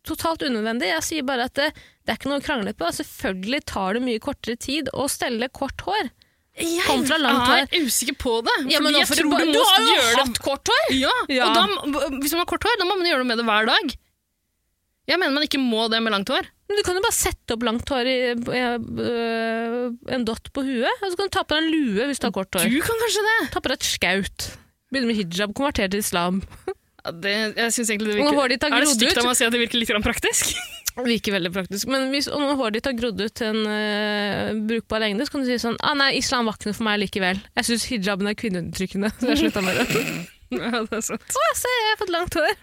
totalt unødvendig. Jeg sier bare at det, det er ikke noe å krangle på. Selvfølgelig tar det mye kortere tid å stelle kort hår. Jeg Kom fra langt er usikker på det. fordi nå jeg får du tror bare- du, du må har jo gjøre det. hatt kort hår! Ja, Ja. Og da, må- hvis man har kort hår, da må man gjøre noe med det hver dag. Jeg mener man ikke må det med langt hår. Men du kan jo bare sette opp langt hår i eh, øh, en dott på huet, og så kan du ta på deg en lue hvis du har kort hår. Du kan kanskje det. Ta på deg et skaut. Begynne med hijab, konvertere til islam. Ja, det, jeg synes egentlig Og det virker... når håret ditt har er det grodd stygt av ut meg å si at det virker litt grann [laughs] praktisk? Virker veldig praktisk. Men hvis og når håret ditt har grodd ut til en øh, brukbar lengde, så kan du si sånn ah, Nei, islam var ikke noe for meg likevel. Jeg syns hijaben er kvinneundertrykkende, så jeg slutta med det. [laughs] ja, det er sant. Å, se, jeg har fått langt hår!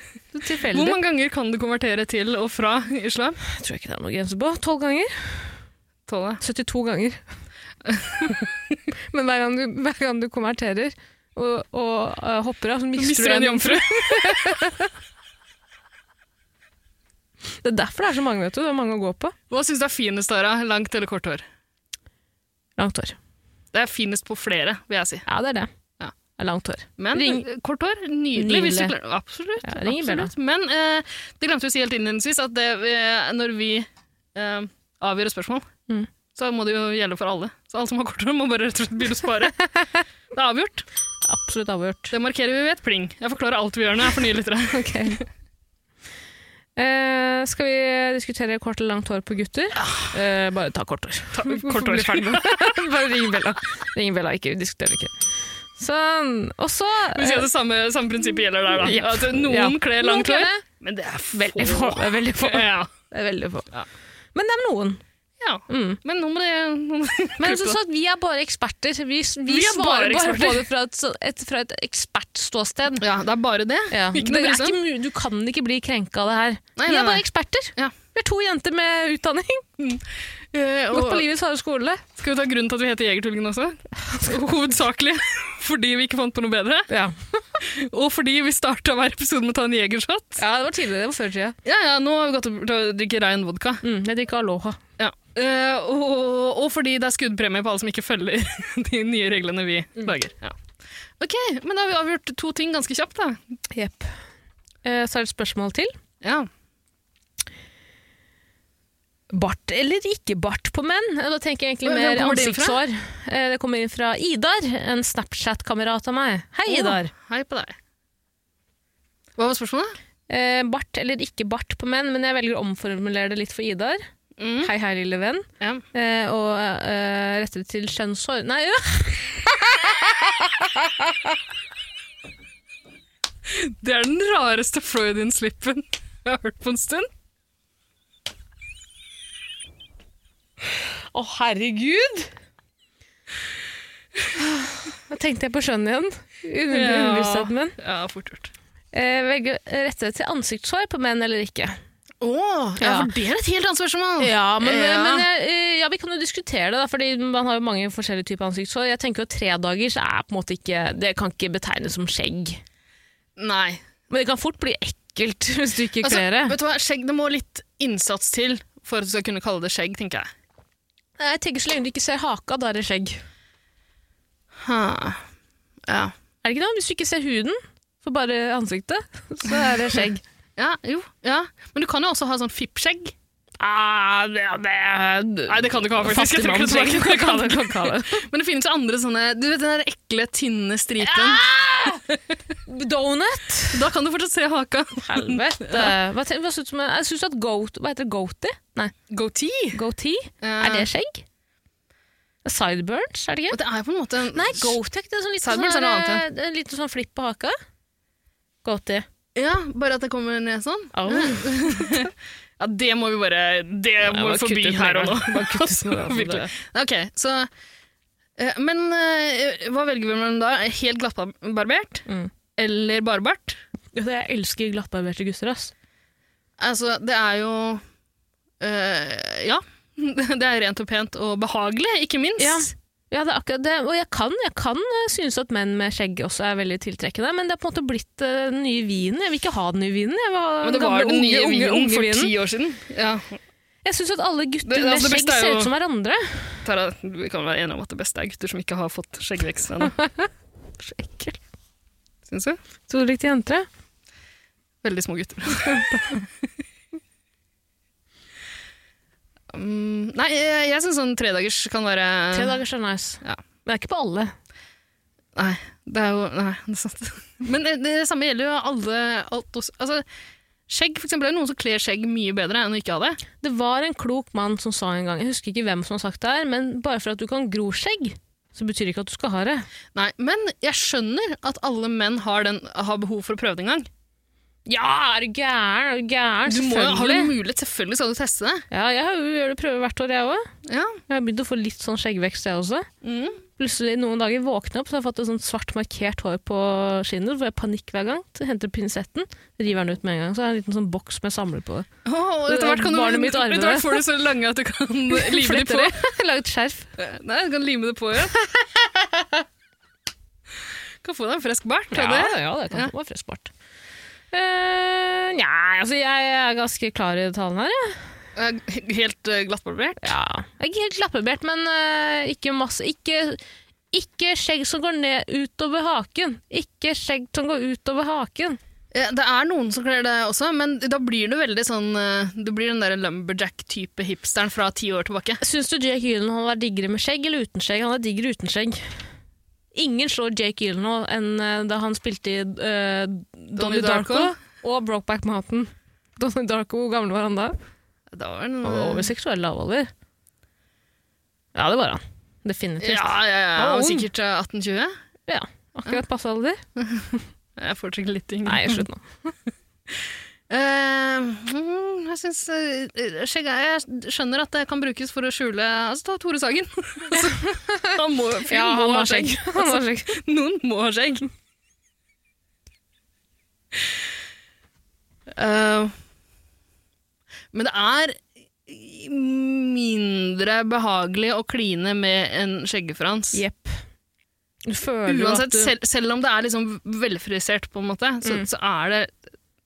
[laughs] Så Hvor Tilfeldig. mange ganger kan du konvertere til og fra islam? Jeg tror ikke det er noe grense på. Tolv ganger? Tåle. 72 ganger. Men hver gang du, hver gang du konverterer og, og eh, hopper av, så mister, Mister du en jomfru? Det er derfor det er så mange, vet du. Det er mange å gå på. Hva synes du er finest, Tara? Langt eller kort hår? Langt hår. Det er finest på flere, vil jeg si. Ja, det er det. Ja. Det er langt hår. Men Ring- eh, kort hår, nydelig. Hvis du Nydelig. klarer, absolutt. Ja, ring i bjella. absolutt. Men eh, det glemte vi å si helt innledningsvis, at det, eh, når vi eh, avgjør et spørsmål, Mm. så må det jo gjelde for alle. Så alle som har kort hår, må bare rett og slett begynne [laughs] å spare. Det er avgjort. Absolutt avgjort. Det markerer vi ved et pling. Jeg forklarer alt vi gjør nå, jeg fornyer litt. [laughs] Ok. Eh, skal vi diskutere kort eller langt hår på gutter? Ah. Eh, bare ta kort hår. Ta- Kort hår ferdig. [laughs] bare ring Bella. Ring Bella, ikke diskuter ikke. Sånn. Og så Vi sier at det samme, samme prinsippet gjelder der, da. Jepp. At noen Ja. kler Noen langt kler hår, det. men det er Veldig få. Det er veldig få. Ja. Det er veldig få. Ja. Men det er noen. ja. Mm. Men nå må det nå må det- Men så, så at vi er bare eksperter. Vi, vi, Vi er svarer bare bare på eksperter. det fra et, så- et, fra et ekspertståsted. [laughs] Ja, det er bare det. Ja. Ikke det noe er bry seg. ikke, mu- du kan ikke bli krenka av det her. Nei, Vi nei, er bare nei. eksperter. Ja. Vi er to jenter med utdanning. Eh, Gått og- på livets harde skole. Skal vi ta grunnen til at vi heter Jegertvillingen også? [laughs] Hovedsakelig fordi vi ikke fant på noe bedre, Ja. og fordi vi starta hver episode med å ta en jegershot. det var tidligere. Det var før i tida. Ja, ja, nå har vi gått til å drikke rein vodka. Mm, jeg drikker aloha. Ja. Eh, og, og fordi det er skuddpremie på alle som ikke følger [laughs] de nye reglene vi lager. Ja. Mm. Ok, men da har vi avgjort to ting ganske kjapt, da. Jepp. Eh, Så er det et spørsmål til. Ja. Bart eller ikke bart på menn. Eh, Da tenker jeg egentlig Hvem mer kommer det inn fra? ansiktshår. Eh, Det kommer inn fra Idar, en Snapchat-kamerat av meg. Hei, Idar. Hei på deg. Hva var spørsmålet? Eh, Bart eller ikke bart på menn, men jeg velger å omformulere det litt for Idar. Mm. Hei, hei, lille venn. Ja. Eh, og eh, rette til kjønnshår Nei, øh! Det er den rareste Freudian-slippen jeg har hørt på en stund. Å, herregud! Da tenkte jeg på skjønn igjen. Under Ja. underbevisstheten min. Ja, fort gjort. Eh, velge å rette til ansiktshår på menn eller ikke. ja, Ja. for det er et helt annet spørsmål. Ja, men, Ja. men jeg- eh, ja, vi kan jo diskutere det, da, fordi man har jo mange forskjellige typer ansiktshår. Jeg tenker jo at tre dager så er på en måte ikke Det kan ikke betegnes som skjegg. Nei. Men det kan fort bli ekkelt [laughs] hvis du ikke Altså, kler det. vet du hva? Skjegg, det må litt innsats til for at du skal kunne kalle det skjegg, tenker jeg. Jeg tenker så lenge du ikke ser haka, da er det skjegg. Ha. Ja. Er det ikke det? Hvis du ikke ser huden, for bare ansiktet, [laughs] så er det skjegg. ja, jo. Ja. Men du kan jo også ha sånn fippskjegg. ah, det, det, Nei, det kan du ikke ha, faktisk. Jeg trekker det tilbake. Fattigmannsskjegg. Det kan du Kan kalle det. ikke. Men det finnes jo andre sånne Du vet den der ekle, tynne stripen? Donut! Da kan du fortsatt se haka. Helvete. Hva, ten- hva syns du om jeg syns at goat, Hva heter det? Goatee? Nei, Goatee. goatee? Eh, Er det skjegg? Sideburns, er det og ikke? det er jo på en måte en- Nei, goatee. Det er sånn liten, Sideburns er sånn, noe eh, annet, en liten sånn flipp på haka. Goatee. Ja, bare at det kommer ned sånn. Au. Ja, det må vi bare Det Nei, må bare vi forbi kutt ut her med og en nå. gang. Bare kutt ut med en [laughs] gang, Virkelig. Ok, så eh, Men eh, hva velger vi mellom da? Helt glattbarbert Mm. eller barbart? Jeg elsker glattbarberte gutter, ass. Altså, det er jo eh, Ja. [laughs] Det er rent og pent og behagelig, ikke minst. Ja. Ja, det er akkurat det. Og jeg kan, jeg kan eh, synes at menn med skjegg også er veldig tiltrekkende, men det er på en måte blitt eh, den nye vinen. Jeg vil ikke ha den nye vinen. Jeg vil ha Men det den gamle, var den nye unge, vinen unge, unge for vinen. ti år siden. Ja, Jeg synes at alle gutter Det- altså, med det beste skjegg er ser jo- ut som hverandre. Tara, vi kan være enige om at det beste er gutter som ikke har fått [laughs] skjeggvekst ennå. Så ekkelt. Syns du? Tror du likte jenter? Veldig små gutter. [laughs] [laughs] Mm, nei, jeg, jeg syns sånn tredagers kan være Tre dager så nice. Ja. Men det er ikke på alle. Nei, det er jo Nei, det er sant. Men det, det samme gjelder jo alle alt også. Altså, skjegg, for eksempel, er det noen som kler skjegg mye bedre enn å ikke ha det. Det var en klok mann som sa en gang, jeg husker ikke hvem som har sagt det her, men bare for at du kan gro skjegg, så betyr det ikke at du skal ha det. Nei, Men jeg skjønner at alle menn har, den, har behov for å prøve det en gang. Ja, er du gæren? Er du gæren? Du må jo ha Selvfølgelig. mulighet, selvfølgelig skal du teste det. Ja, jeg har jo- gjør det prøve hvert år, jeg også. Ja. Jeg har begynt å få litt sånn skjeggvekst, jeg også. Mm. Plutselig noen dager våkner jeg opp, så har jeg fått et sånt svart markert hår på skinnet, hvor jeg panikk hver gang. Så henter jeg pinsetten, river den ut med en gang. Så har jeg en liten sånn boks med samler [laughs] på. Åh, etter hvert kan du, Barnet mitt arver etter det. hvert får du så lange at du [laughs] kan lime det Fletter på. [laughs] det. Laget skjerf. Nei, du kan lime det på, ja. [laughs] kan få deg en frisk bart. av det. ja, det Ja. kan være frøsbart. Uh, Nja, altså jeg er ganske klar i tallene her, jeg. Eh, Helt eh, glattbarbert. Ja. Jeg er ikke helt lappebert, men eh, ikke masse. Ikke, ikke skjegg som går ned utover haken. Ikke skjegg som går utover haken. Eh, Det er noen som kler det også, men da blir du veldig sånn eh, Du blir den der lumberjack-type hipsteren fra ti år tilbake. Syns du Jake Gyllenhaal var diggere med skjegg eller uten skjegg? Han er digger uten skjegg. Ingen slår Jake Gyllenhaal enn eh, da han spilte i eh, Donnie Darko, Darko. og Brokeback Mountain. [laughs] Donnie Darko, hvor gammel var han da? Da var den, Han var over seksuell lavalder. Ja, det var han. Definitivt. ja, ja, ja. Han var Han var ung. sikkert eh, 18-20. Ja, akkurat passe alder. Jeg får sikkert litt yngre. Nei, slutt nå. Eh, mm, jeg syns eh, skjegg er Jeg skjønner at det kan brukes for å skjule Altså, ta Tore Sagen. [laughs] Altså, han må, [laughs] fyren Ja, må han ha har skjegg. [laughs] Han har skjegg. skjegg. Noen må ha skjegg. Eh, men det er mindre behagelig å kline med en skjeggefrans. Jepp. Du føler jo at Uansett, du, selv, selv om det er liksom velfrisert, på en måte, så, Mm. så er det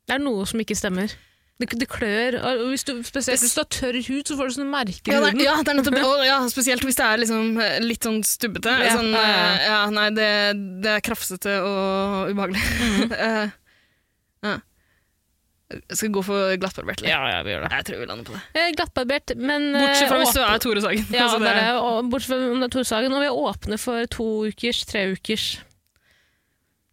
det er noe som ikke stemmer. Det, det klør, og hvis du, spesielt hvis du har tørr hud, så får du sånne merker i Ja, huden. det, ja, det er nettopp det. Og, ja, spesielt hvis det er liksom, eh, litt sånn stubbete. Ja, Sånn, ja, ja. eh, ja, nei, det, Mm. [laughs] det er krafsete og ubehagelig. Eh, ja. skal gå for glattbarbert. liksom. eller? Ja, ja, vi gjør det. Jeg tror vi lander på det. Eh, Glattbarbert, men eh, Bortsett fra hvis du åpen- er Tore Sagen. ja, Altså, det er, det, og bortsett fra om det er Torsagen, og vi er åpne for to ukers, tre ukers.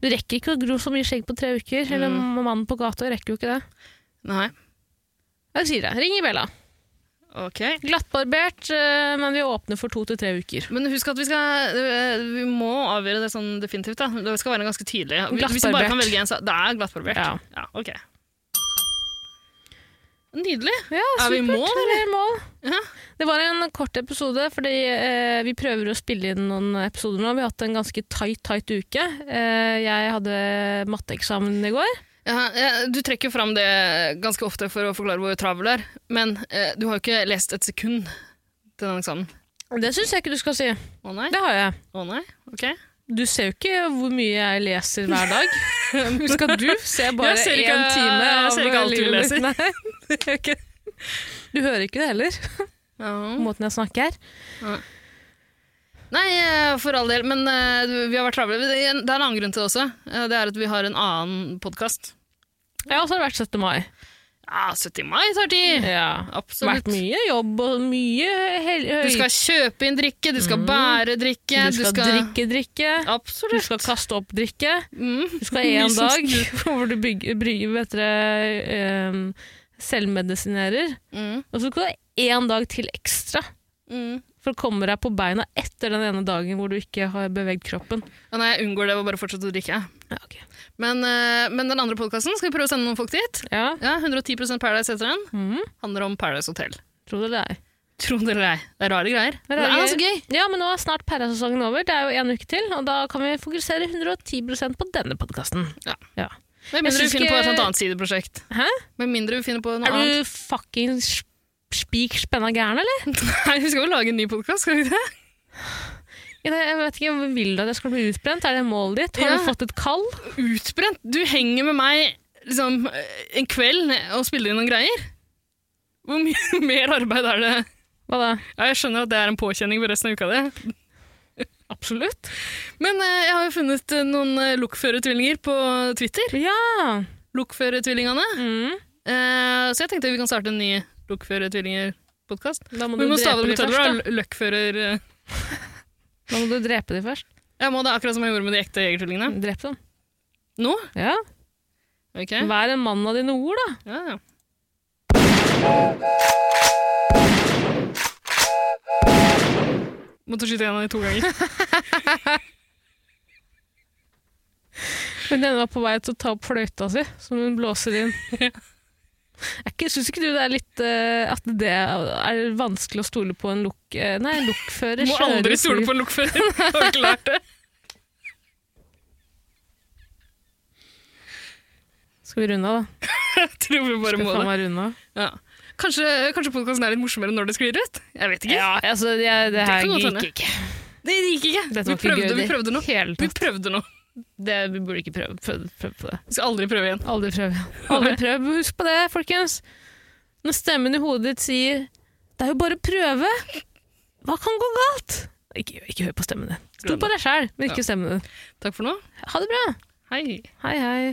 Du rekker ikke å gro så mye skjegg på tre uker, eller Mm. mannen på gata rekker jo ikke det. Nei. Jeg sier det. Ring Ibella. Ok. Glattbarbert, eh, men vi er åpne for to til tre uker. Men husk at vi skal øh, Vi må avgjøre det sånn definitivt. da. Det skal være ganske tydelig. Hvis- Hvis vi bare kan Glattbarbert. velge en, så det er glattbarbert. Ja. ja, ok. Nydelig. Ja, Er vi i supert. mål, Vi er i mål. Ja. Det var en kort episode, fordi eh, vi prøver å spille inn noen episoder nå. Vi har hatt en ganske tight, tight uke. Eh, jeg hadde matteeksamen i går. Ja, ja, du trekker jo fram det ganske ofte for å forklare hvor travel det er, men eh, du har jo ikke lest et sekund til den eksamen. Det syns jeg ikke du skal si. Å nei? Det har jeg. Å nei? Ok. Du ser jo ikke hvor mye jeg leser hver dag. [laughs] Husk at du ser bare Jeg ser ikke- én time. jeg av ser ikke alt du livet mitt. leser. Nei, [laughs] det gjør jeg ikke. Du hører ikke det heller, Ja. på måten jeg snakker. Nei, eh, for all del, men eh, du- vi har vært travle. Det er en det er en annen grunn til det også. Eh, Det er at vi har en annen podkast. Jeg har også vært 17. mai. Ja, 70 mai tar tid! Ja. Absolutt. Vært mye jobb og mye hel Du skal kjøpe inn drikke, du skal bære drikke. Mm. du skal, drikke drikke. Du Absolutt. skal kaste opp drikke. Mm. Du [laughs] skal [laughs] Mye ha én som dag hvor du bygger, brygger, vet dere, em, eh, selvmedisinerer. Mm. Og så skal du ha én dag til ekstra. Mm. For å komme deg på beina etter den ene dagen hvor du ikke har beveget kroppen. Ja, nei, jeg unngår det ved å bare fortsette å drikke. Ja, ok. Men, eh, men den andre podkasten skal vi prøve å sende noen folk dit. Ja, Ja, 110 Paradise heter den. mhm, Handler om Paradise Hotel. tror du det er. Tro det eller ei. Det er rare greier. er Det rare er ganske gøy. Ja, men nå er snart pærasesongen over. Det er jo en uke til, og da kan vi fokusere 110 på denne podkasten. Ja. Ja. Med mindre synes vi finner på et ikke- eller annet sideprosjekt. Hæ? Med mindre vi finner på noe Er annet. du fucking sp- spik spenna gæren, eller? Nei, vi skal jo lage en ny podkast, skal vi ikke det? Jeg jeg vet ikke, jeg Vil du at jeg skal bli utbrent? Er det målet ditt? Har Ja. du fått et kall? Utbrent. Du henger med meg liksom, en kveld og spiller inn noen greier. Hvor mye [laughs] mer arbeid er det? Hva da? Ja, jeg skjønner at det er en påkjenning for resten av uka, det. [laughs] Absolutt. Men eh, jeg har jo funnet eh, noen eh, lokførertvillinger på Twitter. Ja. Lokførertvillingene. Mm. Eh, så jeg tenkte vi kan starte en ny Lokførertvillinger-podkast. Da må Vi du må stave drepe de det med tødder, først. Da. da. Løkkfører eh. da må du drepe de først. Jeg må det akkurat som jeg gjorde med de ekte jegertvillingene. Drep dem. Nå? Ja. Ok. Vær en mann av dine ord, da. Ja, ja. Måtte skyte en av de to ganger. Men den var på vei til å ta opp fløyta si, som hun blåser [laughs] inn. Er ikke, synes ikke du det er litt eh, at det er vanskelig å stole på en lok... eh, nei, en lokfører? Må aldri stole på en lokfører. Har ikke lært [laughs] det. Skal vi runde av, da? Jeg tror vi bare Skal må faen det. meg runde av? Ja. Kanskje, kanskje podkasten er litt morsommere når det sklir ut? Jeg vet ikke. Ja, altså, jeg, det her kan godt gikk hende. ikke. Det gikk ikke. Dette var Vi ikke gøy prøvde, i vi det prøvde noe. hele Vi tatt. prøvde noe. Det, vi burde ikke prøve, prøve, prøve på det. Vi skal aldri prøve igjen. Aldri prøv. [laughs] Aldri prøv. Husk på det, folkens. Når stemmen i hodet ditt sier 'det er jo bare å prøve', hva kan gå galt? Ikke, ikke hør på stemmen din. Stol på deg sjæl, men ikke stemmen din. Takk for nå. Ha det bra. Hei. Hei, hei.